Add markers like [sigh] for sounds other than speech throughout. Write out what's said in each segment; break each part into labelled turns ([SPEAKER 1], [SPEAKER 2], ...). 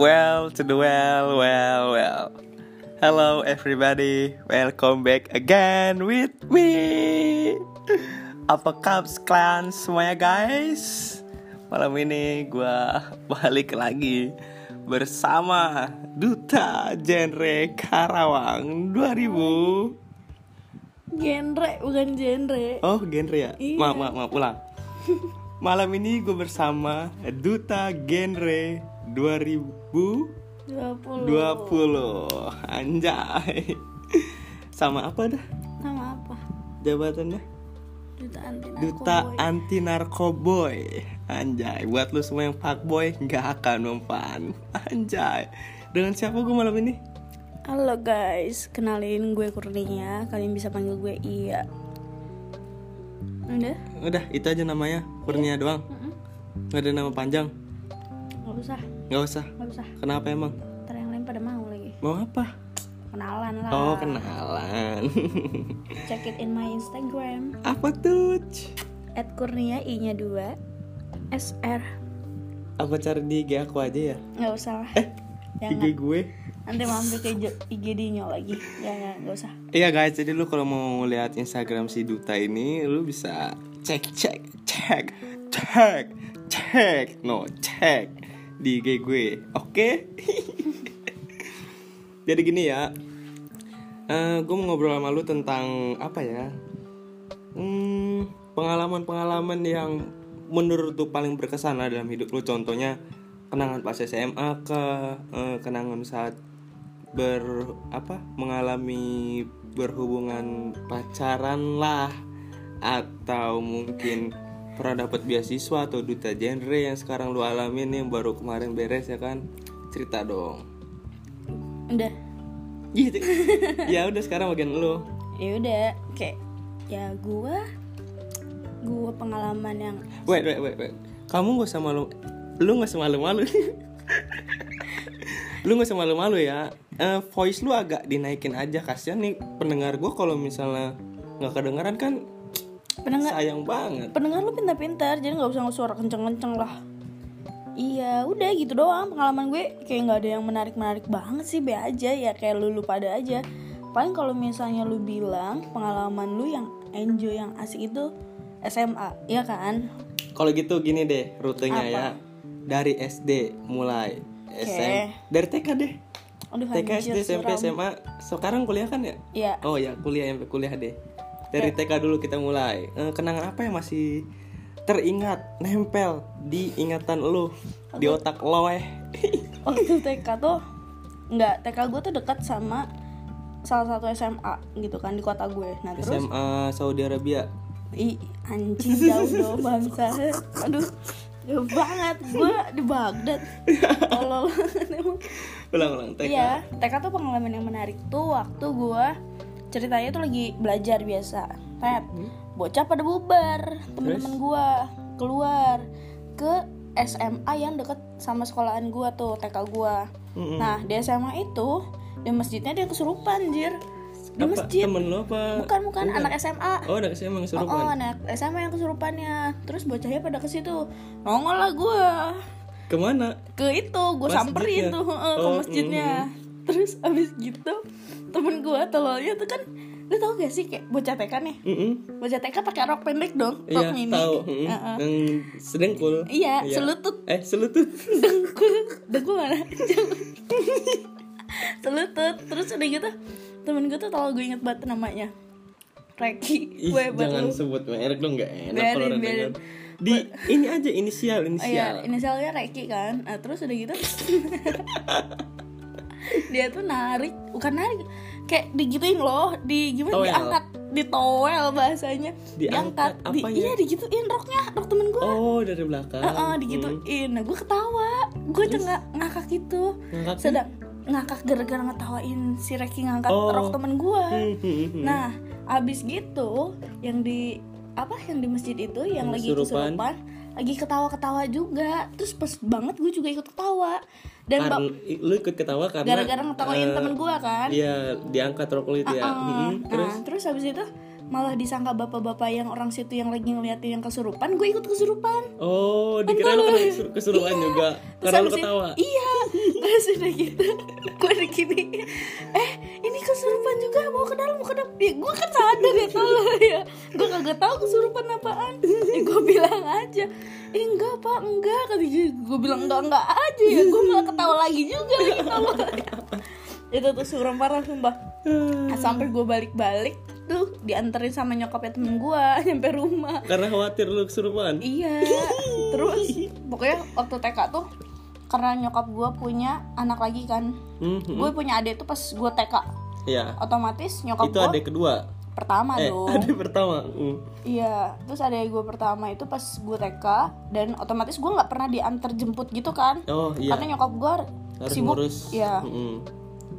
[SPEAKER 1] well to the well, well, well. Hello everybody, welcome back again with me. Apa kabar kalian semuanya guys? Malam ini gue balik lagi bersama Duta Genre Karawang 2000.
[SPEAKER 2] Genre bukan genre.
[SPEAKER 1] Oh genre ya?
[SPEAKER 2] Iya.
[SPEAKER 1] Maaf, maaf, maaf, ulang. Malam ini gue bersama Duta Genre 2000.
[SPEAKER 2] 20.
[SPEAKER 1] 20 Anjay Sama apa dah
[SPEAKER 2] Nama apa?
[SPEAKER 1] jabatannya?
[SPEAKER 2] Dutaan Tina
[SPEAKER 1] Duta
[SPEAKER 2] Cowboy.
[SPEAKER 1] Anti Narkoboy Anjay Buat lu semua yang fuckboy Gak akan mempan Anjay Dengan siapa gue malam ini?
[SPEAKER 2] Halo guys, kenalin gue Kurnia. Kalian bisa panggil gue Iya. Udah?
[SPEAKER 1] Udah itu aja namanya Kurnia doang
[SPEAKER 2] Iya. Mm-mm.
[SPEAKER 1] Gak ada nama panjang
[SPEAKER 2] Gak usah,
[SPEAKER 1] Gak usah
[SPEAKER 2] gak usah.
[SPEAKER 1] Kenapa emang?
[SPEAKER 2] Ntar yang lain pada mau lagi.
[SPEAKER 1] Mau apa?
[SPEAKER 2] Kenalan lah.
[SPEAKER 1] Oh kenalan [laughs]
[SPEAKER 2] Check it in my Instagram
[SPEAKER 1] Apa tuh? Ci?
[SPEAKER 2] @kurnia i-nya 2 SR.
[SPEAKER 1] Aku cari di IG aku aja ya
[SPEAKER 2] Gak usah lah.
[SPEAKER 1] Eh
[SPEAKER 2] Jangan.
[SPEAKER 1] IG gue
[SPEAKER 2] Nanti mampir ke IGD-nya lagi. Jangan, gak usah.
[SPEAKER 1] Iya guys, jadi lu kalau mau lihat Instagram si Duta ini, lu bisa cek cek cek cek cek no cek di IG gue, oke? [laughs] jadi gini ya, Eh gue mau ngobrol sama lu tentang apa ya? Hmm, pengalaman-pengalaman yang menurut lu paling berkesan lah dalam hidup lu, contohnya kenangan pas SMA ke eh, kenangan saat ber apa mengalami berhubungan pacaran lah atau mungkin pernah dapat beasiswa atau duta genre yang sekarang lu alamin yang baru kemarin beres ya kan cerita dong
[SPEAKER 2] Udah.
[SPEAKER 1] gitu ya udah sekarang bagian lu
[SPEAKER 2] ya udah kayak ya gua gua pengalaman yang
[SPEAKER 1] wait wait wait, wait. kamu gak usah malu lu gak usah malu malu [laughs] lu gak usah malu malu ya Eh, voice lu agak dinaikin aja kasihan nih pendengar gua kalau misalnya nggak kedengaran kan
[SPEAKER 2] pendengar
[SPEAKER 1] sayang banget
[SPEAKER 2] pendengar lu pintar-pintar jadi nggak usah suara kenceng-kenceng lah iya udah gitu doang pengalaman gue kayak nggak ada yang menarik-menarik banget sih be aja ya kayak lu lu pada aja paling kalau misalnya lu bilang pengalaman lu yang enjoy yang asik itu SMA ya kan
[SPEAKER 1] Kalau gitu gini deh rutenya
[SPEAKER 2] Apa?
[SPEAKER 1] ya. Dari SD mulai SM. Dari TK deh.
[SPEAKER 2] aduh
[SPEAKER 1] TK
[SPEAKER 2] anjir,
[SPEAKER 1] SD SMP
[SPEAKER 2] suram.
[SPEAKER 1] SMA. Sekarang kuliah kan ya?
[SPEAKER 2] ya
[SPEAKER 1] Oh ya kuliah sampai kuliah deh. Dari TK dulu kita mulai. Eh, kenangan apa yang masih teringat, nempel di ingatan lo, di otak lo eh.
[SPEAKER 2] waktu TK tuh nggak TK gue tuh dekat sama salah satu SMA gitu kan di kota gue nah terus
[SPEAKER 1] SMA Saudi Arabia.
[SPEAKER 2] i anjing jauh dong bangsa aduh jauh banget gue di Baghdad tolol Emang.
[SPEAKER 1] Ulang-ulang TK.
[SPEAKER 2] iya TK tuh pengalaman yang menarik tuh waktu gue ceritanya tuh lagi belajar biasa tet bocah pada bubar temen-temen gue keluar ke SMA yang deket sama sekolahan gue tuh TK gue
[SPEAKER 1] Mm-mm.
[SPEAKER 2] Nah di SMA itu di masjidnya dia kesurupan anjir di
[SPEAKER 1] Apa,
[SPEAKER 2] masjid
[SPEAKER 1] Temen lo apa?
[SPEAKER 2] bukan bukan anak SMA
[SPEAKER 1] Oh, udah SMA yang
[SPEAKER 2] oh, oh,
[SPEAKER 1] kesurupan.
[SPEAKER 2] anak SMA yang kesurupannya terus bocahnya pada ke situ nongol lah gue
[SPEAKER 1] Kemana?
[SPEAKER 2] ke itu gue
[SPEAKER 1] Masjidnya.
[SPEAKER 2] samperin tuh eh, ke
[SPEAKER 1] Oh,
[SPEAKER 2] masjidnya terus abis gitu temen gue tololnya tuh kan lu tau gak sih kayak bocah TK nih
[SPEAKER 1] Mm-mm.
[SPEAKER 2] bocah TK pakai rok pendek dong
[SPEAKER 1] Iya,
[SPEAKER 2] rok mini
[SPEAKER 1] tahu. Mm-mm.
[SPEAKER 2] Heeh.
[SPEAKER 1] Yang sedengkul.
[SPEAKER 2] iya selutut
[SPEAKER 1] Eh, selutut.
[SPEAKER 2] dengkul dengkul mana [laughs] Jangan. selutut terus udah gitu temen gue tuh tau gue inget banget namanya Reki
[SPEAKER 1] Ih,
[SPEAKER 2] [laughs] gue buat
[SPEAKER 1] jangan
[SPEAKER 2] lu
[SPEAKER 1] sebut merek dong nggak enak
[SPEAKER 2] Biarin,
[SPEAKER 1] kalau orang
[SPEAKER 2] biarin.
[SPEAKER 1] dengar. Di ini aja inisial
[SPEAKER 2] Oh iya,
[SPEAKER 1] inisial.
[SPEAKER 2] inisialnya Reki kan nah, terus udah gitu [laughs] dia tuh narik bukan narik kayak digituin loh di gimana
[SPEAKER 1] Towel.
[SPEAKER 2] diangkat ditowel bahasanya
[SPEAKER 1] Diangkat ya?
[SPEAKER 2] di,
[SPEAKER 1] apanya?
[SPEAKER 2] iya digituin roknya rok temen gue
[SPEAKER 1] Oh, dari belakang.
[SPEAKER 2] Heeh, digituin. Nah, gue ketawa. Gue cengak ngakak gitu.
[SPEAKER 1] Ngakak?
[SPEAKER 2] Sedang ngakak gara-gara ngetawain si Reki ngangkat
[SPEAKER 1] Oh.
[SPEAKER 2] rok temen gue.
[SPEAKER 1] Hmm, hmm, hmm.
[SPEAKER 2] Nah, abis gitu yang di apa yang di masjid itu yang lagi
[SPEAKER 1] Kesurupan.
[SPEAKER 2] kesurupan lagi ketawa-ketawa juga. Terus pas banget gue juga ikut ketawa. Dan bak-
[SPEAKER 1] Karena- lu ikut ketawa karena
[SPEAKER 2] gara-gara ngetawain
[SPEAKER 1] eh,
[SPEAKER 2] temen gue kan.
[SPEAKER 1] Iya, diangkat rok lu itu ya.
[SPEAKER 2] Heeh.
[SPEAKER 1] Hmm,
[SPEAKER 2] Nah,
[SPEAKER 1] terus
[SPEAKER 2] terus habis itu malah disangka bapak-bapak yang orang situ yang lagi ngeliatin yang kesurupan, gue ikut kesurupan.
[SPEAKER 1] oh, dikira lu
[SPEAKER 2] Entar lu-
[SPEAKER 1] kesur- kesurupan
[SPEAKER 2] Iya.
[SPEAKER 1] juga
[SPEAKER 2] Terus
[SPEAKER 1] karena lu
[SPEAKER 2] habis itu-
[SPEAKER 1] ketawa. [laughs]
[SPEAKER 2] Iya. terus udah gitu gue udah gini eh ini kesurupan juga mau ke dalam mau ke dalam ya gue kan sadar ya
[SPEAKER 1] [laughs]
[SPEAKER 2] kalau ya gue kagak tahu kesurupan apaan ya gue bilang aja eh enggak pak enggak kata gue bilang enggak enggak aja ya gue malah ketawa lagi juga
[SPEAKER 1] Iya. [laughs]
[SPEAKER 2] gitu loh itu tuh suram parah sumpah sampai gue balik-balik tuh dianterin sama nyokapnya temen gue [laughs] nyampe rumah
[SPEAKER 1] Karena khawatir lu kesurupan.
[SPEAKER 2] Iya.
[SPEAKER 1] [laughs]
[SPEAKER 2] Terus pokoknya waktu TK tuh karena nyokap gue punya anak lagi kan.
[SPEAKER 1] Mhm.
[SPEAKER 2] Gue punya adik tuh pas gue TK.
[SPEAKER 1] Iya.
[SPEAKER 2] Otomatis nyokap
[SPEAKER 1] Itu
[SPEAKER 2] gue
[SPEAKER 1] ada kedua.
[SPEAKER 2] pertama
[SPEAKER 1] Eh,
[SPEAKER 2] dong.
[SPEAKER 1] ada pertama. Mm.
[SPEAKER 2] Iya. Terus adik gue pertama itu pas gue TK dan otomatis gue nggak pernah diantar jemput gitu kan.
[SPEAKER 1] Oh, iya.
[SPEAKER 2] Karena nyokap gue
[SPEAKER 1] Harus
[SPEAKER 2] sibuk.
[SPEAKER 1] ngurus. Hmm.
[SPEAKER 2] Iya.
[SPEAKER 1] Mm-mm.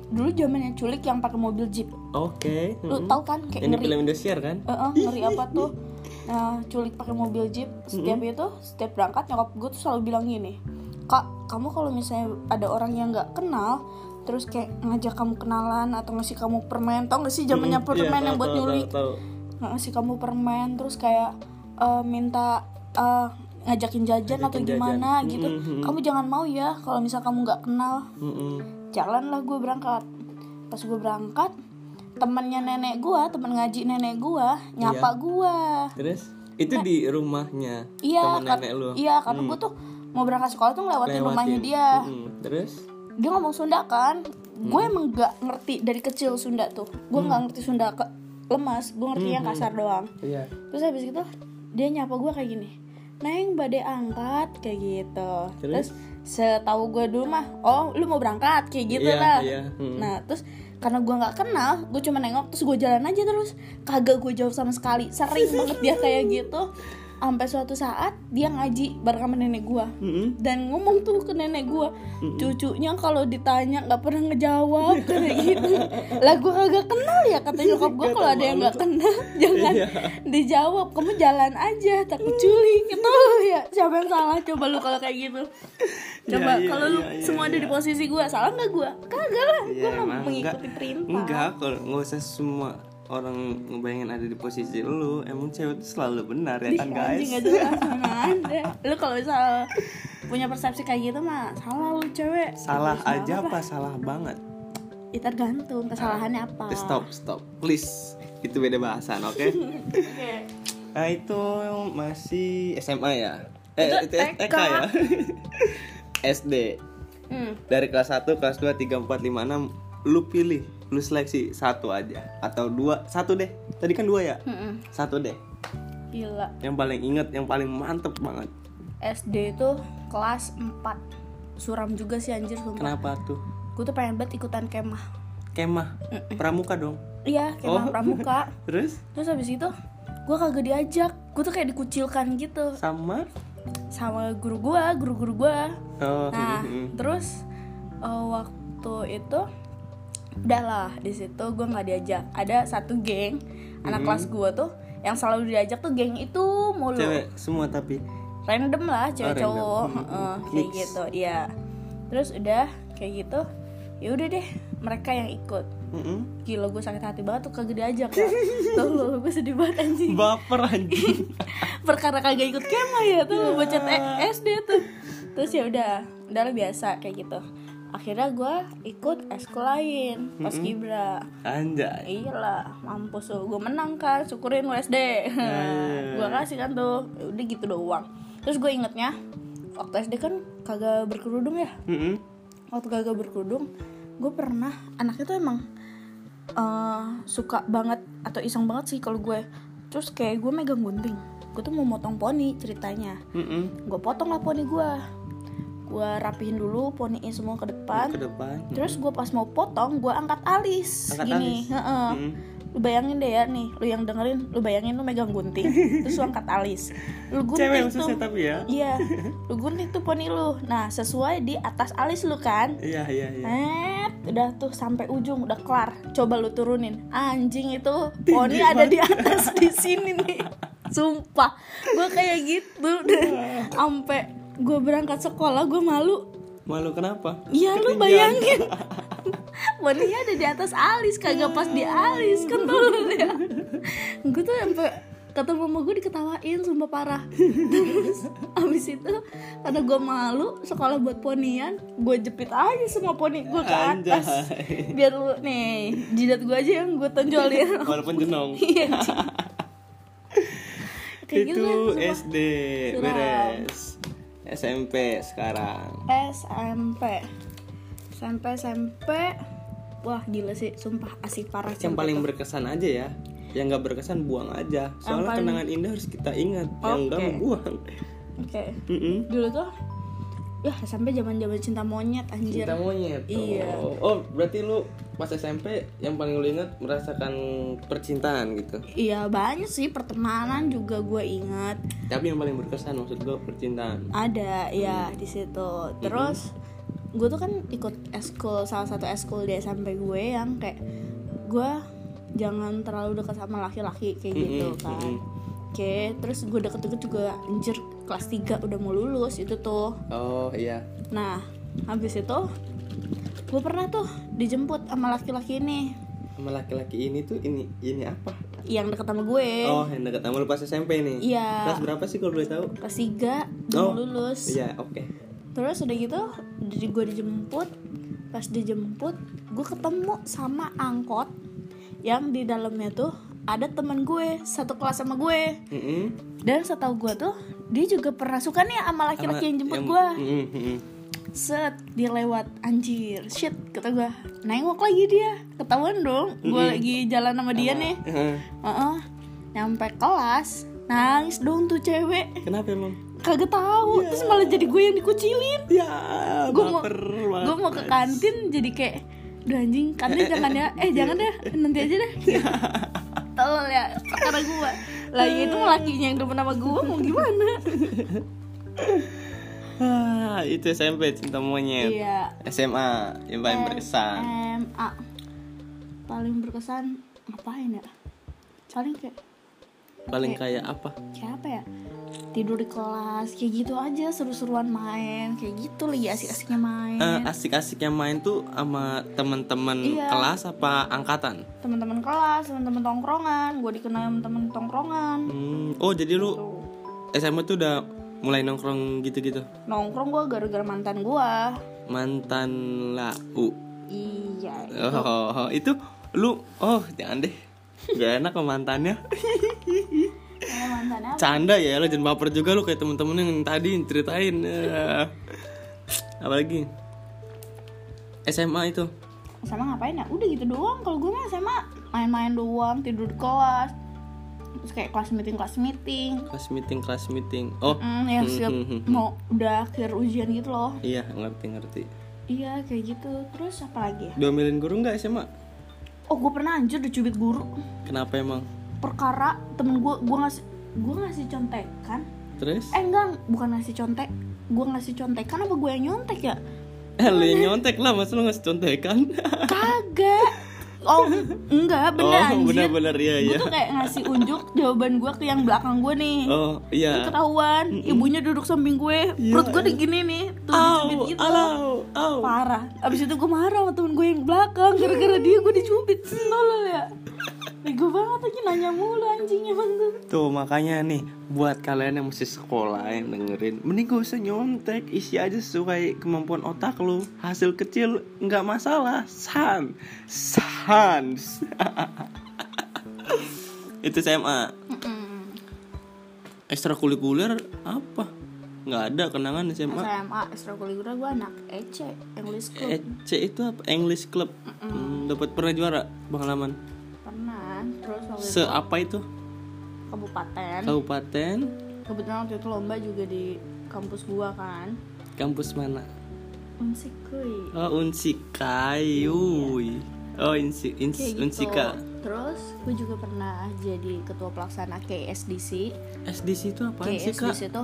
[SPEAKER 2] Dulu zamannya culik yang pakai mobil jeep.
[SPEAKER 1] Oke.
[SPEAKER 2] Lu
[SPEAKER 1] Mm-mm.
[SPEAKER 2] tau kan
[SPEAKER 1] Hmm.
[SPEAKER 2] kayak
[SPEAKER 1] Ini
[SPEAKER 2] ngeri.
[SPEAKER 1] film Indosiar kan?
[SPEAKER 2] Eh, eh, ngeri apa tuh nah culik pakai mobil jeep setiap itu setiap berangkat nyokap gue tuh selalu bilang gini kak kamu kalau misalnya ada orang yang nggak kenal terus kayak ngajak kamu kenalan atau ngasih kamu permen tau gak sih zamannya
[SPEAKER 1] Mm-mm. Iya,
[SPEAKER 2] permen yang
[SPEAKER 1] tahu,
[SPEAKER 2] buat
[SPEAKER 1] tahu,
[SPEAKER 2] nyuri
[SPEAKER 1] tahu, tahu.
[SPEAKER 2] ngasih kamu permen terus kayak eh, minta eh, ngajakin jajan atau
[SPEAKER 1] Ngajakin jajan.
[SPEAKER 2] gimana gitu
[SPEAKER 1] Mm-mm.
[SPEAKER 2] kamu jangan mau ya kalau misal kamu nggak kenal
[SPEAKER 1] Mm-mm.
[SPEAKER 2] jalanlah gue berangkat pas gue berangkat temennya nenek gue temen ngaji nenek gue nyapa
[SPEAKER 1] Iya.
[SPEAKER 2] gue
[SPEAKER 1] Terus itu di rumahnya
[SPEAKER 2] iya
[SPEAKER 1] teman
[SPEAKER 2] kar-
[SPEAKER 1] nenek lu. Hmm.
[SPEAKER 2] iya karena gue tuh mau berangkat sekolah tuh ngelewatin,
[SPEAKER 1] Lewatin.
[SPEAKER 2] rumahnya dia
[SPEAKER 1] Mm-mm. Terus
[SPEAKER 2] dia ngomong Sunda kan
[SPEAKER 1] Hmm.
[SPEAKER 2] gue emang gak ngerti dari kecil Sunda tuh gue nggak ngerti Sunda ke lemas gue ngerti yang kasar doang
[SPEAKER 1] Iya.
[SPEAKER 2] terus habis gitu dia nyapa gue kayak gini Neng badai angkat kayak gitu
[SPEAKER 1] Terus?
[SPEAKER 2] terus, setahu gue dulu mah oh lu mau berangkat kayak gitu
[SPEAKER 1] Iya,
[SPEAKER 2] lah
[SPEAKER 1] iya. Hmm.
[SPEAKER 2] nah terus karena gue nggak kenal gue cuma nengok terus gue jalan aja terus kagak gue jawab sama sekali sering banget dia kayak gitu sampai suatu saat dia ngaji bareng sama nenek gue
[SPEAKER 1] Mm-mm.
[SPEAKER 2] dan ngomong tuh ke nenek gue cucunya kalau ditanya nggak pernah ngejawab kayak gitu lah gue kagak kenal ya kata nyokap gue kalau ada yang nggak kenal [laughs] jangan
[SPEAKER 1] Iya.
[SPEAKER 2] dijawab kamu jalan aja takut culik gitu ya siapa yang salah coba lu kalau kayak gitu coba
[SPEAKER 1] Iya, iya,
[SPEAKER 2] kalau lu
[SPEAKER 1] iya, iya,
[SPEAKER 2] semua ada di posisi gue salah nggak gue kagak lah gue
[SPEAKER 1] Iya,
[SPEAKER 2] mau
[SPEAKER 1] emang
[SPEAKER 2] mengikuti perintah
[SPEAKER 1] Enggak, kalau nggak usah semua orang ngebayangin ada di posisi lu, emang cewek itu selalu benar ya
[SPEAKER 2] Ih,
[SPEAKER 1] kan
[SPEAKER 2] anjing
[SPEAKER 1] guys?
[SPEAKER 2] gak jelas mana ada lu kalau misal punya persepsi kayak gitu mah salah lu cewek
[SPEAKER 1] Salah
[SPEAKER 2] Salah
[SPEAKER 1] aja apa salah banget?
[SPEAKER 2] ya tergantung kesalahannya apa
[SPEAKER 1] Stop, stop, please. Itu beda bahasan, oke? [laughs]
[SPEAKER 2] Oke.
[SPEAKER 1] Nah itu masih SMA ya? Eh,
[SPEAKER 2] Itu TK.
[SPEAKER 1] ya? [laughs] SD
[SPEAKER 2] Hmm.
[SPEAKER 1] Dari kelas 1, kelas 2, 3, 4, 5, 6 Lu pilih, lu seleksi satu aja Atau dua, satu deh Tadi kan dua ya?
[SPEAKER 2] Mm-mm.
[SPEAKER 1] Satu deh
[SPEAKER 2] hmm, Gila.
[SPEAKER 1] Yang paling inget, yang paling mantep banget
[SPEAKER 2] SD itu kelas 4 Suram juga sih anjir sumpah
[SPEAKER 1] Kenapa tuh?
[SPEAKER 2] Gue tuh pengen banget ikutan kemah
[SPEAKER 1] Kemah, pramuka dong
[SPEAKER 2] Iya
[SPEAKER 1] Oh.
[SPEAKER 2] kemah pramuka
[SPEAKER 1] [laughs] Terus
[SPEAKER 2] Terus habis itu gue kagak diajak Gue tuh kayak dikucilkan gitu
[SPEAKER 1] sama
[SPEAKER 2] Sama guru gue, guru-guru gue
[SPEAKER 1] Oh,
[SPEAKER 2] Nah
[SPEAKER 1] mm, mm.
[SPEAKER 2] terus eh, waktu itu udahlah di situ gue nggak diajak ada satu geng
[SPEAKER 1] Mm-hmm.
[SPEAKER 2] anak kelas gue tuh yang selalu diajak tuh geng itu mulu
[SPEAKER 1] Cewek semua tapi
[SPEAKER 2] random lah
[SPEAKER 1] random.
[SPEAKER 2] cewek cowok
[SPEAKER 1] Hmm,
[SPEAKER 2] heeh,
[SPEAKER 1] hmm.
[SPEAKER 2] kayak
[SPEAKER 1] Mix.
[SPEAKER 2] gitu iya terus udah kayak gitu ya udah deh mereka yang ikut
[SPEAKER 1] Mm-mm.
[SPEAKER 2] gila gue sakit hati banget tuh kagak
[SPEAKER 1] [laughs]
[SPEAKER 2] diajak ya tuh lo gue sedih banget anjing
[SPEAKER 1] Baper
[SPEAKER 2] [laughs]
[SPEAKER 1] anjing
[SPEAKER 2] perkara kagak ikut kemah ya tuh bocet E- SD tuh terus ya udah udah lah biasa kayak gitu akhirnya gue ikut eskul lain pas kibra
[SPEAKER 1] Anjay
[SPEAKER 2] iya lah mampus tuh gue menang kan syukurin USD [laughs] gue kasih kan tuh Ya udah gitu doang terus gue ingetnya waktu SD kan kagak berkerudung ya
[SPEAKER 1] Mm-mm.
[SPEAKER 2] waktu kagak berkerudung gue pernah anaknya tuh emang eh, suka banget atau iseng banget sih kalau gue terus kayak gue megang gunting gue tuh mau motong poni ceritanya
[SPEAKER 1] Mm-mm.
[SPEAKER 2] gue potong lah poni gue gue rapihin dulu poninya semua ke depan
[SPEAKER 1] Ke depan
[SPEAKER 2] Terus gue pas mau potong, gue angkat alis
[SPEAKER 1] Angkat
[SPEAKER 2] gini.
[SPEAKER 1] alis.
[SPEAKER 2] heeh.
[SPEAKER 1] Mm.
[SPEAKER 2] Lu bayangin deh ya nih, lu yang dengerin, lu bayangin lu megang
[SPEAKER 1] [laughs]
[SPEAKER 2] gunting, terus lu angkat alis. Lu
[SPEAKER 1] Cewek
[SPEAKER 2] gunting
[SPEAKER 1] khususnya
[SPEAKER 2] tuh.
[SPEAKER 1] tapi ya [laughs]
[SPEAKER 2] Iya, lu gunting tuh poni lu. Nah, sesuai di atas alis lu kan.
[SPEAKER 1] Iya iya iya
[SPEAKER 2] Eh, udah tuh sampai ujung udah kelar. Coba lu turunin. Anjing itu poni ada di atas di sini nih. Sumpah, gue kayak gitu dan sampai gue berangkat sekolah gue malu
[SPEAKER 1] Malu kenapa?
[SPEAKER 2] Iya lu
[SPEAKER 1] Ketinggian.
[SPEAKER 2] [laughs] bayangin Poninya [laughs] ada di atas alis Kagak pas di alis Kan tuh lu ya Gue tuh sampai kata mama gue diketawain sumpah [laughs] parah terus abis itu karena gue malu sekolah buat ponian gue jepit aja semua poni gue ke atas
[SPEAKER 1] Anjay.
[SPEAKER 2] biar lu nih jidat gue aja yang gue tonjolin [laughs]
[SPEAKER 1] walaupun jenong
[SPEAKER 2] Iya, [laughs] anjing. Kayak gitu
[SPEAKER 1] itu
[SPEAKER 2] kan, sumpah.
[SPEAKER 1] SD
[SPEAKER 2] Suram.
[SPEAKER 1] beres SMP sekarang
[SPEAKER 2] SMP SMP SMP Wah gila sih, sumpah asik parah
[SPEAKER 1] yang
[SPEAKER 2] SMP.
[SPEAKER 1] paling berkesan aja ya yang nggak berkesan buang aja soalnya
[SPEAKER 2] paling-
[SPEAKER 1] kenangan indah harus kita ingat yang nggak
[SPEAKER 2] Oke.
[SPEAKER 1] mau buang
[SPEAKER 2] Oke
[SPEAKER 1] Mm-mm.
[SPEAKER 2] Dulu tuh Ya SMP zaman zaman cinta monyet anjir
[SPEAKER 1] cinta monyet oh.
[SPEAKER 2] Iya.
[SPEAKER 1] oh berarti lu pas SMP yang paling lu ingat merasakan percintaan gitu
[SPEAKER 2] Iya banyak sih pertemanan juga gue ingat
[SPEAKER 1] tapi yang paling berkesan maksud gua percintaan
[SPEAKER 2] ada ya
[SPEAKER 1] Hmm.
[SPEAKER 2] di situ terus gue tuh kan ikut eskul salah satu eskul di SMP gue yang kayak gue jangan terlalu dekat sama laki-laki kayak
[SPEAKER 1] Mm-mm,
[SPEAKER 2] gitu kan
[SPEAKER 1] mm-mm.
[SPEAKER 2] oke terus gue deket-deket juga anjir kelas 3 udah mau lulus itu tuh
[SPEAKER 1] oh iya
[SPEAKER 2] nah habis itu gue pernah tuh dijemput sama laki-laki ini
[SPEAKER 1] sama laki-laki ini tuh ini ini apa
[SPEAKER 2] yang deket sama gue
[SPEAKER 1] oh yang dekat sama lu pas SMP nih
[SPEAKER 2] Eh. Iya.
[SPEAKER 1] kelas berapa sih kalau boleh tahu
[SPEAKER 2] kelas 3 udah
[SPEAKER 1] Oh,
[SPEAKER 2] mau lulus
[SPEAKER 1] iya oke
[SPEAKER 2] Terus udah gitu jadi gue dijemput Pas dijemput gue ketemu sama angkot Yang di dalamnya tuh ada temen gue Satu kelas sama gue
[SPEAKER 1] Mm-mm.
[SPEAKER 2] Dan setahu gue tuh dia juga pernah suka nih sama
[SPEAKER 1] Sama
[SPEAKER 2] laki-laki yang jemput gue
[SPEAKER 1] Mm-mm, mm-mm.
[SPEAKER 2] Set dia lewat anjir shit kata gue Nengok lagi dia ketahuan dong gue lagi jalan sama dia Iya nih
[SPEAKER 1] Heeh.
[SPEAKER 2] Heeh. Nyampe kelas nangis dong tuh cewek
[SPEAKER 1] kenapa emang
[SPEAKER 2] kagak tahu terus malah jadi gue yang dikucilin
[SPEAKER 1] ya
[SPEAKER 2] gue mau
[SPEAKER 1] baper
[SPEAKER 2] gue mau ke kantin jadi kayak Duh anjing kantin jangan ya eh jangan deh nanti aja
[SPEAKER 1] [laughs]
[SPEAKER 2] deh tolol ya karena gue lagi iya, itu lakinya yang demen sama gue mau gimana
[SPEAKER 1] Ah, itu SMP cinta monyet
[SPEAKER 2] iya Eh,
[SPEAKER 1] SMA yang paling berkesan
[SPEAKER 2] SMA paling berkesan ngapain ya paling kayak
[SPEAKER 1] paling kayak apa
[SPEAKER 2] kayak apa ya tidur di kelas kayak gitu aja seru-seruan main kayak gitu lagi asik-asiknya main
[SPEAKER 1] Eh, asik-asiknya main tuh sama teman-teman
[SPEAKER 2] Iya.
[SPEAKER 1] kelas apa angkatan
[SPEAKER 2] teman-teman kelas teman-teman tongkrongan gue dikenal sama teman tongkrongan gitu.
[SPEAKER 1] Hmm, oh jadi lu
[SPEAKER 2] tuh
[SPEAKER 1] SMA tuh udah mulai nongkrong gitu-gitu
[SPEAKER 2] nongkrong gue gara-gara mantan gue
[SPEAKER 1] mantan lau
[SPEAKER 2] iya
[SPEAKER 1] oh itu lu oh jangan deh gak enak sama mantannya
[SPEAKER 2] kalau mantannya
[SPEAKER 1] canda ya lo jangan baper juga lu kayak temen-temen yang tadi yang ceritain Ya. apalagi SMA itu
[SPEAKER 2] sama ngapain ya udah gitu doang kalau gue mah sama main-main doang tidur di kelas terus kayak kelas meeting kelas meeting
[SPEAKER 1] kelas meeting kelas meeting oh
[SPEAKER 2] hmm, ya siap mau udah akhir ujian gitu loh
[SPEAKER 1] iya ngerti ngerti
[SPEAKER 2] iya kayak gitu terus apa lagi ya
[SPEAKER 1] diomelin guru nggak SMA
[SPEAKER 2] oh gue pernah anjir dicubit guru
[SPEAKER 1] kenapa emang
[SPEAKER 2] perkara temen gue gue ngasih gue ngasih contekan
[SPEAKER 1] terus
[SPEAKER 2] eh enggak bukan ngasih contek gue ngasih contekan apa gue yang nyontek [laughs] ya
[SPEAKER 1] eh, lu yang nyontek lah masa lu ngasih contekan
[SPEAKER 2] kagak oh enggak bener
[SPEAKER 1] oh
[SPEAKER 2] anjir
[SPEAKER 1] bener-bener iya
[SPEAKER 2] gue
[SPEAKER 1] iya
[SPEAKER 2] tuh kayak ngasih unjuk jawaban gue ke yang belakang gue nih
[SPEAKER 1] oh iya
[SPEAKER 2] ketahuan ibunya duduk samping gue perut gue digini nih tuh
[SPEAKER 1] Au,
[SPEAKER 2] dicubit gitu
[SPEAKER 1] alau, au.
[SPEAKER 2] parah abis itu gue marah sama temen gue yang belakang gara-gara dia gue dicubit tolol ya bego banget lagi nanya mulu anjingnya emang tuh
[SPEAKER 1] Tuh Gitu, makanya nih buat kalian yang masih sekolah yang dengerin Mending gak usah nyontek Isi aja sesuai kemampuan otak lu Hasil kecil nggak masalah San Sans [laughs] Itu SMA Ekstrakurikuler apa? nggak ada kenangan SMA
[SPEAKER 2] SMA ekstrakurikuler gue anak EC English Club
[SPEAKER 1] EC E itu apa? English Club Hmm, Dapat pernah juara pengalaman
[SPEAKER 2] pernah terus waktu itu
[SPEAKER 1] Seapa itu?
[SPEAKER 2] kabupaten
[SPEAKER 1] Kabupaten
[SPEAKER 2] kebetulan waktu itu lomba juga di kampus gue kan
[SPEAKER 1] Kampus mana?
[SPEAKER 2] unsik kuy
[SPEAKER 1] Oh, unsikai, uy. Oh, insi,
[SPEAKER 2] Iya. kayak
[SPEAKER 1] ins,
[SPEAKER 2] gitu.
[SPEAKER 1] unsika.
[SPEAKER 2] Terus gue juga pernah jadi ketua pelaksana KSDC.
[SPEAKER 1] SDC itu apa sih, Kak?
[SPEAKER 2] KSDC itu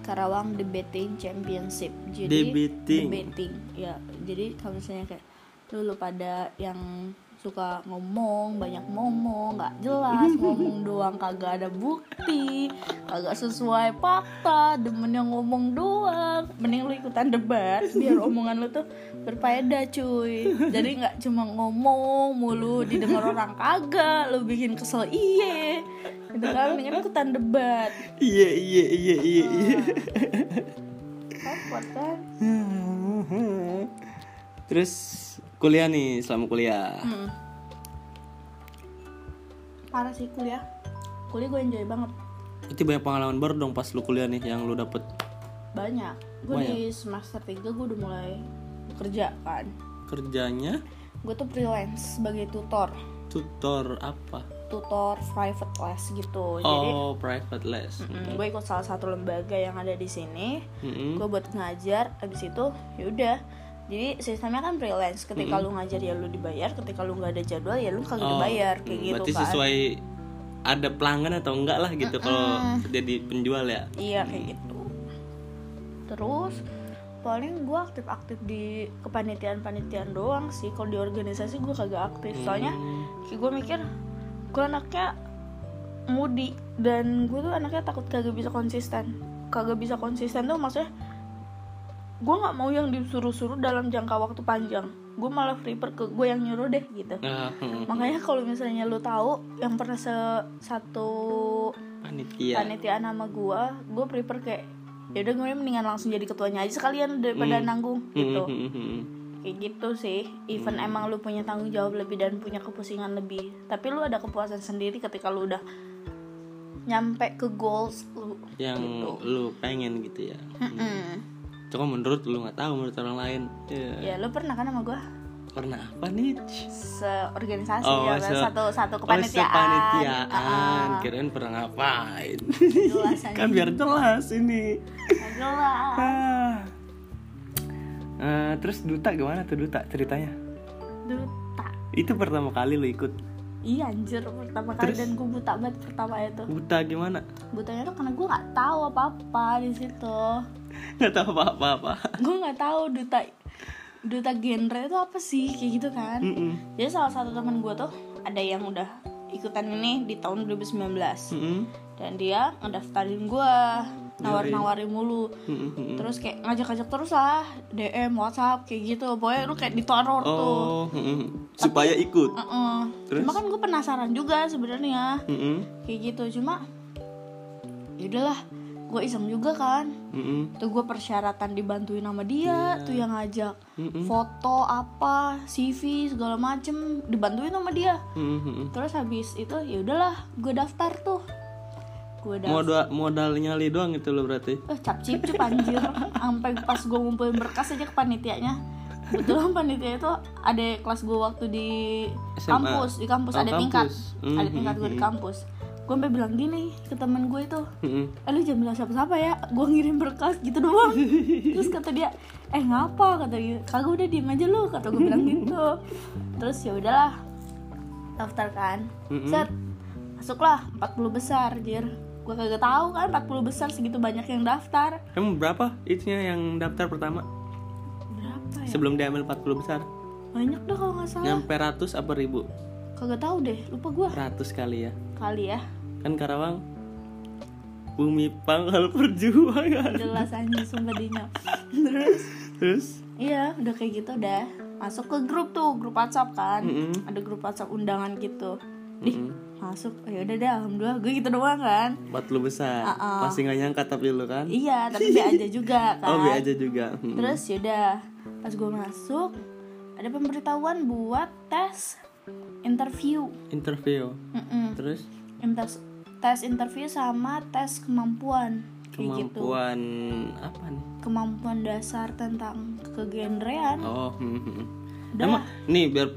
[SPEAKER 2] Karawang Debating Championship. Jadi
[SPEAKER 1] Debating.
[SPEAKER 2] debating. Ya, jadi kalau misalnya kayak lu, lu pada yang suka ngomong banyak ngomong nggak
[SPEAKER 1] [laughs]
[SPEAKER 2] jelas ngomong doang kagak ada bukti kagak sesuai fakta demen yang ngomong doang mending lu ikutan debat biar omongan lu tuh berfaedah cuy jadi nggak cuma ngomong mulu didengar orang kagak lu bikin kesel iye gitu kan dengan ikutan debat
[SPEAKER 1] iya iya iya iya
[SPEAKER 2] Oh.
[SPEAKER 1] iya
[SPEAKER 2] repot kan
[SPEAKER 1] terus kuliah nih selama kuliah
[SPEAKER 2] Hmm. parah sih kuliah kuliah gue enjoy banget
[SPEAKER 1] berarti banyak pengalaman baru dong pas lu kuliah nih yang lu dapet
[SPEAKER 2] banyak gue di semester 3 gue udah mulai bekerja kan
[SPEAKER 1] kerjanya
[SPEAKER 2] gue tuh freelance sebagai tutor
[SPEAKER 1] tutor apa
[SPEAKER 2] tutor private class gitu jadi
[SPEAKER 1] oh private les
[SPEAKER 2] mm, gue ikut salah satu lembaga yang ada di sini
[SPEAKER 1] Mm-mm.
[SPEAKER 2] gue buat ngajar abis itu yaudah jadi sistemnya kan freelance ketika lu ngajar ya lu dibayar ketika lu nggak ada jadwal ya lu kagak
[SPEAKER 1] Oh,
[SPEAKER 2] dibayar kayak
[SPEAKER 1] mm,
[SPEAKER 2] gitu
[SPEAKER 1] berarti
[SPEAKER 2] kan
[SPEAKER 1] sesuai ada pelanggan atau enggak lah gitu kalau jadi penjual ya
[SPEAKER 2] iya kayak gitu terus paling gue aktif-aktif di kepanitiaan-panitiaan doang sih kalau di organisasi gue kagak aktif soalnya kayak gue mikir gue anaknya mudi dan gue tuh anaknya takut kagak bisa konsisten kagak bisa konsisten tuh maksudnya gue nggak mau yang disuruh-suruh dalam jangka waktu panjang gue malah prefer ke gue yang nyuruh deh gitu
[SPEAKER 1] Ah, mm,
[SPEAKER 2] makanya kalau misalnya lu tahu yang pernah se- satu
[SPEAKER 1] panitia
[SPEAKER 2] panitiaan sama gue gue prefer kayak yaudah gue mendingan langsung jadi ketuanya aja sekalian daripada nanggung gitu
[SPEAKER 1] Mm, mm, mm, mm.
[SPEAKER 2] kayak gitu sih even
[SPEAKER 1] Hmm.
[SPEAKER 2] emang lu punya tanggung jawab lebih dan punya kepusingan lebih tapi lu ada kepuasan sendiri ketika lu udah nyampe ke goals lu
[SPEAKER 1] yang
[SPEAKER 2] gitu.
[SPEAKER 1] lu pengen gitu ya
[SPEAKER 2] Mm.
[SPEAKER 1] Cuma menurut lu nggak tahu menurut orang lain ya.
[SPEAKER 2] ya lu pernah kan sama gue
[SPEAKER 1] Pernah apa nih?
[SPEAKER 2] seorganisasi
[SPEAKER 1] Oh,
[SPEAKER 2] ya
[SPEAKER 1] se-
[SPEAKER 2] satu satu
[SPEAKER 1] Oh,
[SPEAKER 2] kepanitiaan
[SPEAKER 1] kepanitiaan. Kirain pernah ngapain
[SPEAKER 2] jelas
[SPEAKER 1] [laughs]
[SPEAKER 2] Iya.
[SPEAKER 1] Kan biar jelas ini
[SPEAKER 2] jelas
[SPEAKER 1] Ah. Eh, Terus Duta gimana tuh Duta ceritanya?
[SPEAKER 2] duta
[SPEAKER 1] Itu pertama kali lu ikut
[SPEAKER 2] iya anjir pertama kali dan gue buta banget pertama itu
[SPEAKER 1] Duta gimana?
[SPEAKER 2] butanya tuh karena gue nggak tahu apa apa di situ
[SPEAKER 1] Gak tau apa-apa
[SPEAKER 2] gue nggak tahu duta duta genre itu apa sih kayak gitu kan
[SPEAKER 1] Mm-mm.
[SPEAKER 2] jadi salah satu teman gue tuh ada yang udah ikutan ini di tahun 2019
[SPEAKER 1] Mm-mm.
[SPEAKER 2] dan dia ngedaftarin gue
[SPEAKER 1] Iya,
[SPEAKER 2] nawar-nawarin mulu
[SPEAKER 1] Mm-mm, mm-mm.
[SPEAKER 2] terus kayak ngajak-ngajak terus lah DM WhatsApp kayak gitu pokoknya lu kayak diteror tuh
[SPEAKER 1] Oh, mm-mm. supaya ikut.
[SPEAKER 2] Heeh.
[SPEAKER 1] Terus?
[SPEAKER 2] cuma kan gue penasaran juga sebenarnya
[SPEAKER 1] Mm-mm,
[SPEAKER 2] kayak gitu cuma yaudahlah gue iseng juga kan
[SPEAKER 1] mm-mm,
[SPEAKER 2] tuh gue persyaratan dibantuin sama dia tuh yang ngajak
[SPEAKER 1] Iya. Mm-mm.
[SPEAKER 2] foto apa CV segala macem dibantuin sama dia
[SPEAKER 1] mm-mm, mm-mm.
[SPEAKER 2] terus habis itu ya udahlah gue daftar tuh gue
[SPEAKER 1] Modal
[SPEAKER 2] daftar
[SPEAKER 1] modal nyali doang itu lo berarti.
[SPEAKER 2] eh cap cip anjir sampai pas gue ngumpulin berkas aja ke panitianya kebetulan panitia itu ada kelas gue waktu di
[SPEAKER 1] SMA.
[SPEAKER 2] kampus di kampus
[SPEAKER 1] Oh,
[SPEAKER 2] ada tingkat
[SPEAKER 1] kampus. Mm-hmm.
[SPEAKER 2] ada tingkat gue di kampus gue sampai bilang gini ke temen gue itu
[SPEAKER 1] Mm-mm.
[SPEAKER 2] eh lu jangan bilang siapa-siapa ya gue ngirim berkas gitu
[SPEAKER 1] [laughs]
[SPEAKER 2] doang terus kata dia eh ngapa kata dia kagak udah diem aja lu kata gue bilang gitu terus ya udahlah daftar kan
[SPEAKER 1] Mm-mm.
[SPEAKER 2] set masuklah 40 besar jir gue kagak tahu kan 40 besar segitu banyak yang daftar
[SPEAKER 1] Emang berapa itunya yang daftar pertama?
[SPEAKER 2] berapa Oh, ya
[SPEAKER 1] Sebelum diambil 40 besar.
[SPEAKER 2] banyak dah kalau nggak salah
[SPEAKER 1] Nyampe ratus apa ribu?
[SPEAKER 2] kagak tahu deh lupa gue
[SPEAKER 1] Ratus kali ya.
[SPEAKER 2] kali ya
[SPEAKER 1] Kan Karawang bumi pangkal [laughs] perjuangan.
[SPEAKER 2] jelas aja sumpah dinya terus
[SPEAKER 1] Terus
[SPEAKER 2] Iya, udah kayak gitu udah. Masuk ke grup tuh, grup WhatsApp kan.
[SPEAKER 1] Mm-mm.
[SPEAKER 2] Ada grup WhatsApp undangan gitu. Dih,
[SPEAKER 1] Mm-hmm.
[SPEAKER 2] masuk. Oh, ya udah deh, alhamdulillah gue gitu doang kan.
[SPEAKER 1] 40 besar. Pasti nggak nyangka tapi lu kan.
[SPEAKER 2] Uh-uh. Iya, tapi B aja juga
[SPEAKER 1] [laughs]
[SPEAKER 2] kan.
[SPEAKER 1] Oh, B aja juga. Mm.
[SPEAKER 2] Terus yaudah, pas gue masuk ada pemberitahuan buat tes interview.
[SPEAKER 1] Interview.
[SPEAKER 2] Mm-mm.
[SPEAKER 1] Terus
[SPEAKER 2] Inter- tes interview sama tes kemampuan. Kayak gitu.
[SPEAKER 1] kemampuan apa nih?
[SPEAKER 2] Kemampuan dasar tentang kegenrean.
[SPEAKER 1] Oh, hmm, hmm.
[SPEAKER 2] Udah
[SPEAKER 1] Emang- nih biar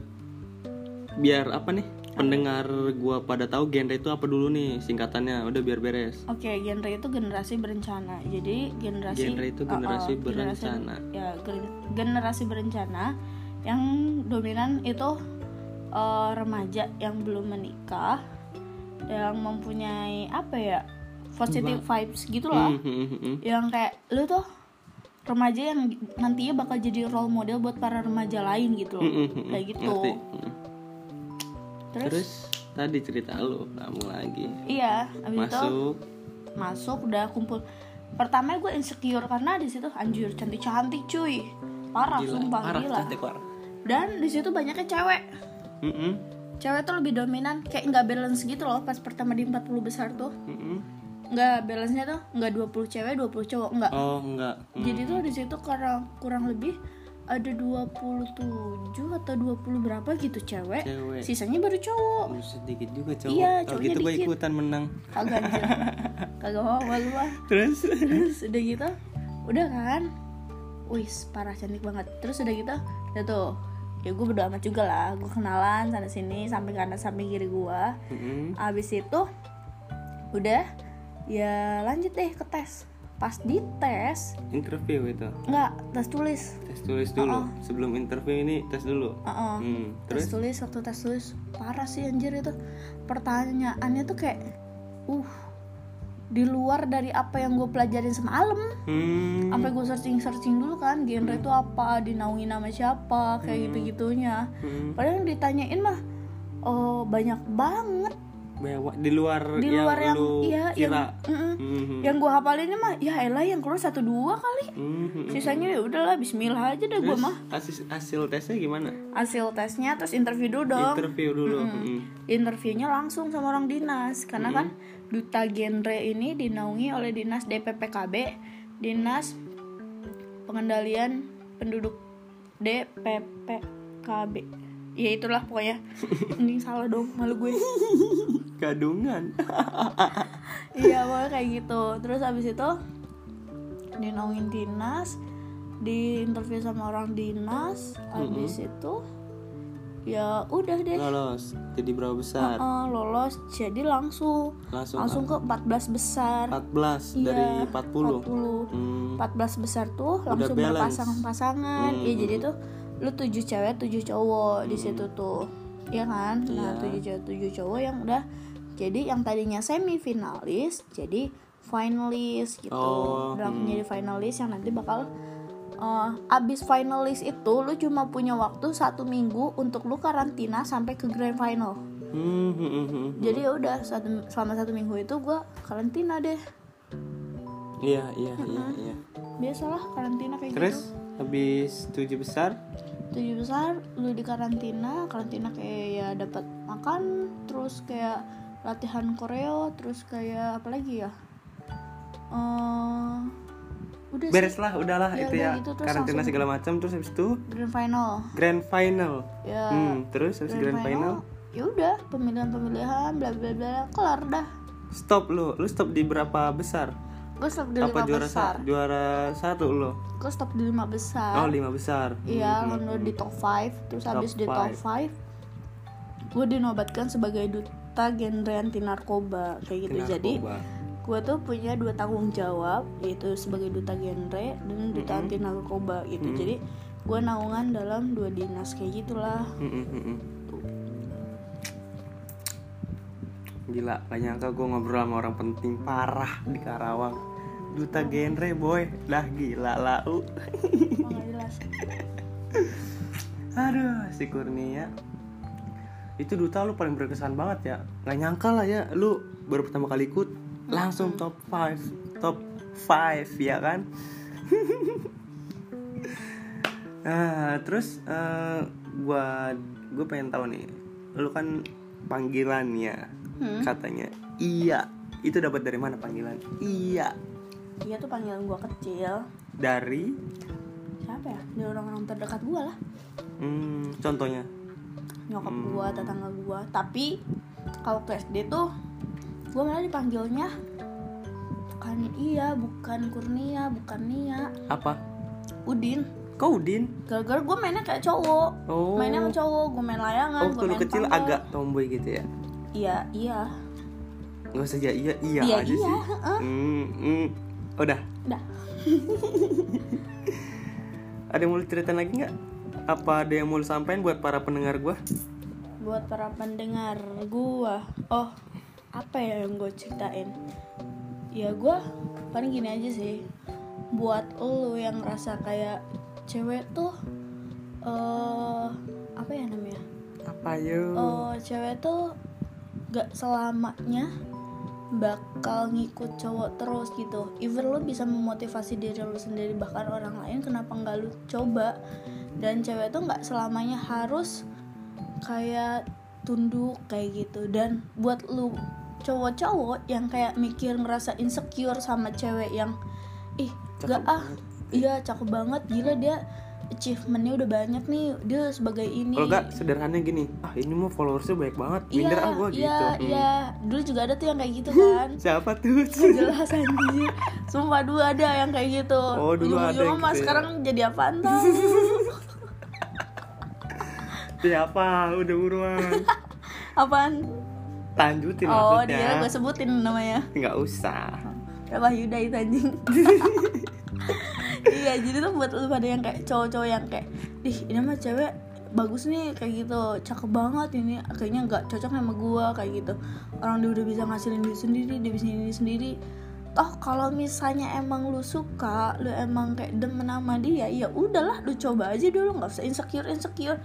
[SPEAKER 1] biar apa nih pendengar gua pada tahu genre itu apa dulu nih singkatannya udah biar beres.
[SPEAKER 2] Oke, genre itu generasi berencana. Jadi generasi
[SPEAKER 1] Genre itu
[SPEAKER 2] Uh-uh,
[SPEAKER 1] generasi berencana.
[SPEAKER 2] ya ger- generasi berencana yang dominan itu uh, remaja yang belum menikah, yang mempunyai apa ya positive vibes gitu loh.
[SPEAKER 1] Hmm, hmm, hmm, hmm.
[SPEAKER 2] Yang kayak lu tuh remaja yang nantinya bakal jadi role model buat para remaja lain gitu loh.
[SPEAKER 1] Hmm, hmm, hmm.
[SPEAKER 2] Kayak gitu.
[SPEAKER 1] Ngerti. Hmm.
[SPEAKER 2] Terus,
[SPEAKER 1] Terus tadi cerita lu kamu lagi
[SPEAKER 2] iya, abis itu
[SPEAKER 1] masuk
[SPEAKER 2] masuk udah kumpul pertama gue insecure karena di situ anjir cantik cantik cuy parah
[SPEAKER 1] gila
[SPEAKER 2] sumpah
[SPEAKER 1] parah
[SPEAKER 2] gila
[SPEAKER 1] cantik parah.
[SPEAKER 2] dan di situ banyaknya cewek
[SPEAKER 1] Hmm, hmm.
[SPEAKER 2] cewek tuh lebih dominan kayak nggak balance gitu loh pas pertama di 40 besar tuh
[SPEAKER 1] Mm-mm.
[SPEAKER 2] nggak balance-nya tuh nggak 20 cewek 20 cowok nggak
[SPEAKER 1] Oh enggak.
[SPEAKER 2] jadi tuh di situ kurang kurang lebih ada 27 atau 20 berapa gitu cewek,
[SPEAKER 1] Cewek.
[SPEAKER 2] sisanya baru cowok
[SPEAKER 1] Buset dikit juga cowok.
[SPEAKER 2] Iya,
[SPEAKER 1] Kalau
[SPEAKER 2] cowoknya
[SPEAKER 1] gitu gue
[SPEAKER 2] dikit.
[SPEAKER 1] ikutan menang. [laughs]
[SPEAKER 2] kagak anjir. kagak mau malu lah
[SPEAKER 1] Terus
[SPEAKER 2] terus udah gitu udah kan wis parah cantik banget terus udah gitu udah tuh ya gue berdoa amat juga lah gue kenalan sana sini sampai kanan sampai kiri gue
[SPEAKER 1] Mm-mm.
[SPEAKER 2] abis itu udah ya lanjut deh ke tes pas di tes
[SPEAKER 1] interview itu.
[SPEAKER 2] nggak tes tulis
[SPEAKER 1] Tes tulis dulu.
[SPEAKER 2] Oh.
[SPEAKER 1] Sebelum interview ini tes dulu.
[SPEAKER 2] Heeh.
[SPEAKER 1] Hmm,
[SPEAKER 2] tes
[SPEAKER 1] terus
[SPEAKER 2] tulis waktu tes tulis parah sih anjir itu pertanyaannya tuh kayak uh di luar dari apa yang gue pelajarin semalam
[SPEAKER 1] Hmm.
[SPEAKER 2] sampai gue searching searching dulu kan genre itu apa dinaungi nama siapa kayak gitu gitunya
[SPEAKER 1] Hmm.
[SPEAKER 2] padahal yang ditanyain mah oh banyak banget
[SPEAKER 1] Bawa- di luar
[SPEAKER 2] di luar yang,
[SPEAKER 1] lu
[SPEAKER 2] iya yang
[SPEAKER 1] kira.
[SPEAKER 2] Mm-mm.
[SPEAKER 1] Mhm.
[SPEAKER 2] yang gue hafalinnya mah ya elah yang keluar satu dua kali
[SPEAKER 1] Mhm.
[SPEAKER 2] sisanya ya udahlah Bismillah aja deh gue
[SPEAKER 1] Terus
[SPEAKER 2] mah
[SPEAKER 1] hasil, hasil tesnya gimana?
[SPEAKER 2] hasil tesnya terus interview dulu dong
[SPEAKER 1] Interview dulu. Mm-mm.
[SPEAKER 2] interviewnya langsung sama orang dinas karena kan duta genre ini dinaungi oleh dinas DPPKB dinas pengendalian penduduk DPPKB ya itulah pokoknya ini salah dong malu gue
[SPEAKER 1] Hmm. [laughs] Gadungan.
[SPEAKER 2] iya pokoknya kayak gitu terus abis itu dinaungin dinas di interview sama orang dinas abis itu ya udah deh
[SPEAKER 1] Lolos. Jadi berapa besar?
[SPEAKER 2] Eh, lolos jadi langsung
[SPEAKER 1] Langsung,
[SPEAKER 2] oh. langsung ke 14 besar
[SPEAKER 1] 14
[SPEAKER 2] Iya,
[SPEAKER 1] dari 40.
[SPEAKER 2] 40.
[SPEAKER 1] Hmm.
[SPEAKER 2] 14 besar tuh langsung
[SPEAKER 1] balance. Hmm,
[SPEAKER 2] berpasangan-pasangan ya jadi tuh lu 7 cewek 7 cowok di situ tuh ya kan
[SPEAKER 1] Iya.
[SPEAKER 2] nah 7 cewek 7 cowok yang udah jadi yang tadinya semifinalis jadi finalis gitu
[SPEAKER 1] Oh,
[SPEAKER 2] udah langsung jadi finalis yang nanti bakal eh, abis finalis itu lu cuma punya waktu satu minggu untuk lu karantina sampai ke grand final
[SPEAKER 1] Hmm, hmm, hmm, hmm.
[SPEAKER 2] jadi ya udah satu, selama satu minggu itu gua karantina deh
[SPEAKER 1] Iya, iya, iya, iya.
[SPEAKER 2] biasalah karantina kayak
[SPEAKER 1] Terus
[SPEAKER 2] gitu
[SPEAKER 1] habis 7 besar,
[SPEAKER 2] tujuh besar lu di karantina karantina kayak ya dapat makan terus kayak latihan koreo terus kayak apa lagi ya Eh, udah sih
[SPEAKER 1] bereslah udahlah
[SPEAKER 2] Iya,
[SPEAKER 1] itu
[SPEAKER 2] udah
[SPEAKER 1] ya.
[SPEAKER 2] gitu, terus
[SPEAKER 1] Karantina
[SPEAKER 2] langsung-
[SPEAKER 1] segala macam terus habis itu
[SPEAKER 2] grand final
[SPEAKER 1] grand final.
[SPEAKER 2] ya
[SPEAKER 1] Hmm, terus habis grand, final,
[SPEAKER 2] ya udah pemilihan pemilihan bla bla bla kelar dah
[SPEAKER 1] stop lu. Lu stop di berapa besar?
[SPEAKER 2] gue stop di
[SPEAKER 1] Apa
[SPEAKER 2] lima
[SPEAKER 1] juara
[SPEAKER 2] besar
[SPEAKER 1] sa- juara satu lu?
[SPEAKER 2] gue stop di lima besar
[SPEAKER 1] Oh, 5 besar.
[SPEAKER 2] Iya, lalu di top 5 Terus
[SPEAKER 1] Top
[SPEAKER 2] habis di top 5 Gue dinobatkan sebagai duta genre anti narkoba Kayak gitu,
[SPEAKER 1] Narkoba.
[SPEAKER 2] jadi gue tuh punya dua tanggung jawab Yaitu sebagai duta genre dan duta anti narkoba gitu Jadi gue naungan dalam dua dinas kayak gitulah
[SPEAKER 1] Hmm, hmm, hmm, hmm. Gila, gak nyangka gue ngobrol sama orang penting parah di Karawang Duta genre boy, dah gila lau
[SPEAKER 2] Emang nggak jelas
[SPEAKER 1] Aduh, si Kurnia ya. Itu duta lu paling berkesan banget ya Gak nyangka lah ya, lu baru pertama kali ikut Langsung top 5 Top 5 ya kan [laughs] Nah, terus eh, gua gue pengen tahu nih Lu kan panggilannya Katanya Iya Itu dapat dari mana panggilan? Iya
[SPEAKER 2] Dia tuh panggilan gue kecil
[SPEAKER 1] Dari
[SPEAKER 2] Siapa ya? Dia orang-orang terdekat gue lah
[SPEAKER 1] hmm, Contohnya
[SPEAKER 2] nyokap
[SPEAKER 1] Hmm.
[SPEAKER 2] gua, tetangga gua. Tapi kalau ke SD tuh gua malah dipanggilnya bukan iya, bukan Kurnia, bukan Nia,
[SPEAKER 1] Apa?
[SPEAKER 2] Udin.
[SPEAKER 1] Kau Udin?
[SPEAKER 2] Gara-gara gua mainnya kayak cowok.
[SPEAKER 1] Oh
[SPEAKER 2] Mainnya sama cowok, gua main layangan,
[SPEAKER 1] Oh,
[SPEAKER 2] Nah, gua
[SPEAKER 1] waktu lu
[SPEAKER 2] main
[SPEAKER 1] kecil
[SPEAKER 2] panggung.
[SPEAKER 1] agak tomboy gitu ya?
[SPEAKER 2] Iya, iya.
[SPEAKER 1] Gak usah ya, iya, iya
[SPEAKER 2] Iya,
[SPEAKER 1] aja
[SPEAKER 2] iya,
[SPEAKER 1] sih.
[SPEAKER 2] heeh.
[SPEAKER 1] Hmm, hmm. Udah,
[SPEAKER 2] Udah.
[SPEAKER 1] ada yang mau lu ceritain lagi nggak? Apa ada yang mau lu sampaikan buat para pendengar gua?
[SPEAKER 2] Buat para pendengar gua. Oh, apa ya yang gua ceritain? Ya gua paling gini aja sih. Buat lu yang ngerasa kayak cewek tuh eh apa ya namanya?
[SPEAKER 1] Apa yo?
[SPEAKER 2] Oh, cewek tuh gak selamanya bakal ngikut cowok terus gitu. Even lu bisa memotivasi diri lu sendiri bahkan orang lain kenapa nggak lu coba? Dan cewek tuh nggak selamanya harus kayak tunduk kayak gitu dan buat lu cowok-cowok yang kayak mikir ngerasa insecure sama cewek yang ih gak
[SPEAKER 1] Cakep
[SPEAKER 2] ah iya cakep banget gila dia achievementnya udah banyak nih dia sebagai ini
[SPEAKER 1] Kalau enggak sederhananya gini, ah ini mah followersnya banyak banget,
[SPEAKER 2] iya
[SPEAKER 1] minder ah gua
[SPEAKER 2] iya
[SPEAKER 1] gitu. Hmm. Iya.
[SPEAKER 2] iya dulu juga ada tuh yang kayak gitu
[SPEAKER 1] [laughs]
[SPEAKER 2] kan
[SPEAKER 1] Siapa tuh?
[SPEAKER 2] Gak jelas anjir Sumpah dulu ada yang kayak gitu
[SPEAKER 1] Oh, dulu ada yang
[SPEAKER 2] Ujung-ujungnya mah
[SPEAKER 1] gitu ya.
[SPEAKER 2] sekarang jadi apaan
[SPEAKER 1] [laughs]
[SPEAKER 2] tau
[SPEAKER 1] Siapa? Udah buruan.
[SPEAKER 2] [laughs] Apaan?
[SPEAKER 1] Lanjutin
[SPEAKER 2] Oh
[SPEAKER 1] maksudnya.
[SPEAKER 2] dia gue sebutin namanya
[SPEAKER 1] Nggak usah.
[SPEAKER 2] Apa Yuda itu anjing Iya jadi tuh buat lu pada yang kayak cowok-cowok yang kayak Dih ini mah cewek bagus nih kayak gitu cakep banget ini kayaknya nggak cocok sama gua kayak gitu orang dia udah bisa ngasilin diri sendiri dia bisa ini sendiri toh kalau misalnya emang lu suka lu emang kayak demen sama dia ya udahlah lu coba aja dulu nggak usah insecure insecure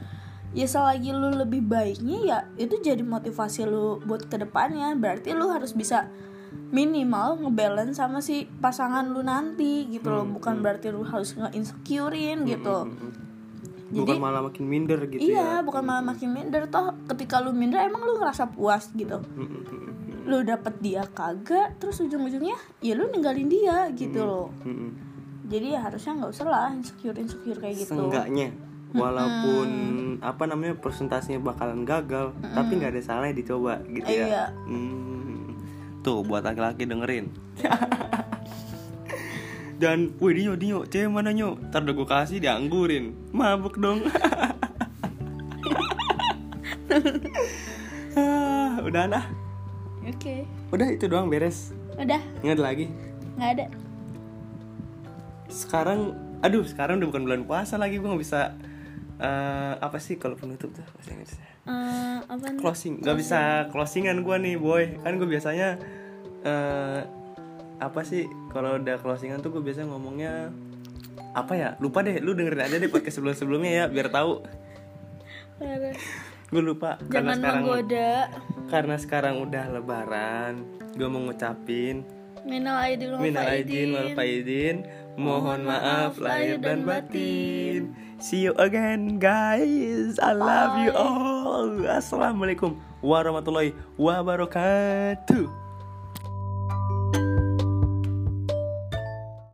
[SPEAKER 2] ya selagi lu lebih baiknya ya itu jadi motivasi lu buat kedepannya berarti lu harus bisa minimal ngebalance sama si pasangan lu nanti gitu loh
[SPEAKER 1] Hmm,
[SPEAKER 2] bukan berarti lu harus nge-insecurein gitu
[SPEAKER 1] Bukan malah makin minder Hmm, gitu ya.
[SPEAKER 2] iya, bukan malah makin minder toh ketika lu minder emang lu ngerasa puas gitu.
[SPEAKER 1] Hmm.
[SPEAKER 2] Lu dapet dia kagak, terus ujung-ujungnya ya lu ninggalin dia
[SPEAKER 1] Hmm.
[SPEAKER 2] gitu loh.
[SPEAKER 1] Mm-mm.
[SPEAKER 2] Jadi ya harusnya nggak usah lah insecure insecure kayak gitu.
[SPEAKER 1] Seenggaknya walaupun apa namanya persentasenya bakalan gagal, tapi nggak ada salahnya dicoba gitu ya.
[SPEAKER 2] Iya.
[SPEAKER 1] Mm. Tuh buat laki-laki dengerin.
[SPEAKER 2] [laughs]
[SPEAKER 1] Dan, wih Dinyo, Dinyo, cewek mana Nyo? Ntar udah gue kasih dianggurin Mabuk dong [laughs] Ah, Udah nah
[SPEAKER 2] Oke,
[SPEAKER 1] Udah itu doang beres
[SPEAKER 2] udah
[SPEAKER 1] Nggak ada lagi
[SPEAKER 2] nggak ada.
[SPEAKER 1] sekarang aduh sekarang udah bukan bulan puasa lagi gue nggak bisa eh, apa sih kalau penutup tuh bahasa Inggrisnya?
[SPEAKER 2] Eh, apa nih?
[SPEAKER 1] closing nggak bisa closingan gue nih boy kan gue biasanya eh, apa sih kalau udah closingan tuh gue biasa ngomongnya apa ya lupa deh lu dengerin aja deh podcast sebelum sebelumnya ya biar tahu
[SPEAKER 2] Parah.
[SPEAKER 1] gue lupa karena
[SPEAKER 2] Jangan
[SPEAKER 1] sekarang
[SPEAKER 2] menggoda.
[SPEAKER 1] karena sekarang udah lebaran gue mau ngucapin
[SPEAKER 2] Minal aidin wal
[SPEAKER 1] Minal aidin wal
[SPEAKER 2] faidin.
[SPEAKER 1] faidin Mohon
[SPEAKER 2] Mohon
[SPEAKER 1] maaf
[SPEAKER 2] maaf
[SPEAKER 1] lahir
[SPEAKER 2] lahir
[SPEAKER 1] dan
[SPEAKER 2] dan
[SPEAKER 1] batin See you again guys I love you all Assalamualaikum warahmatullahi wabarakatuh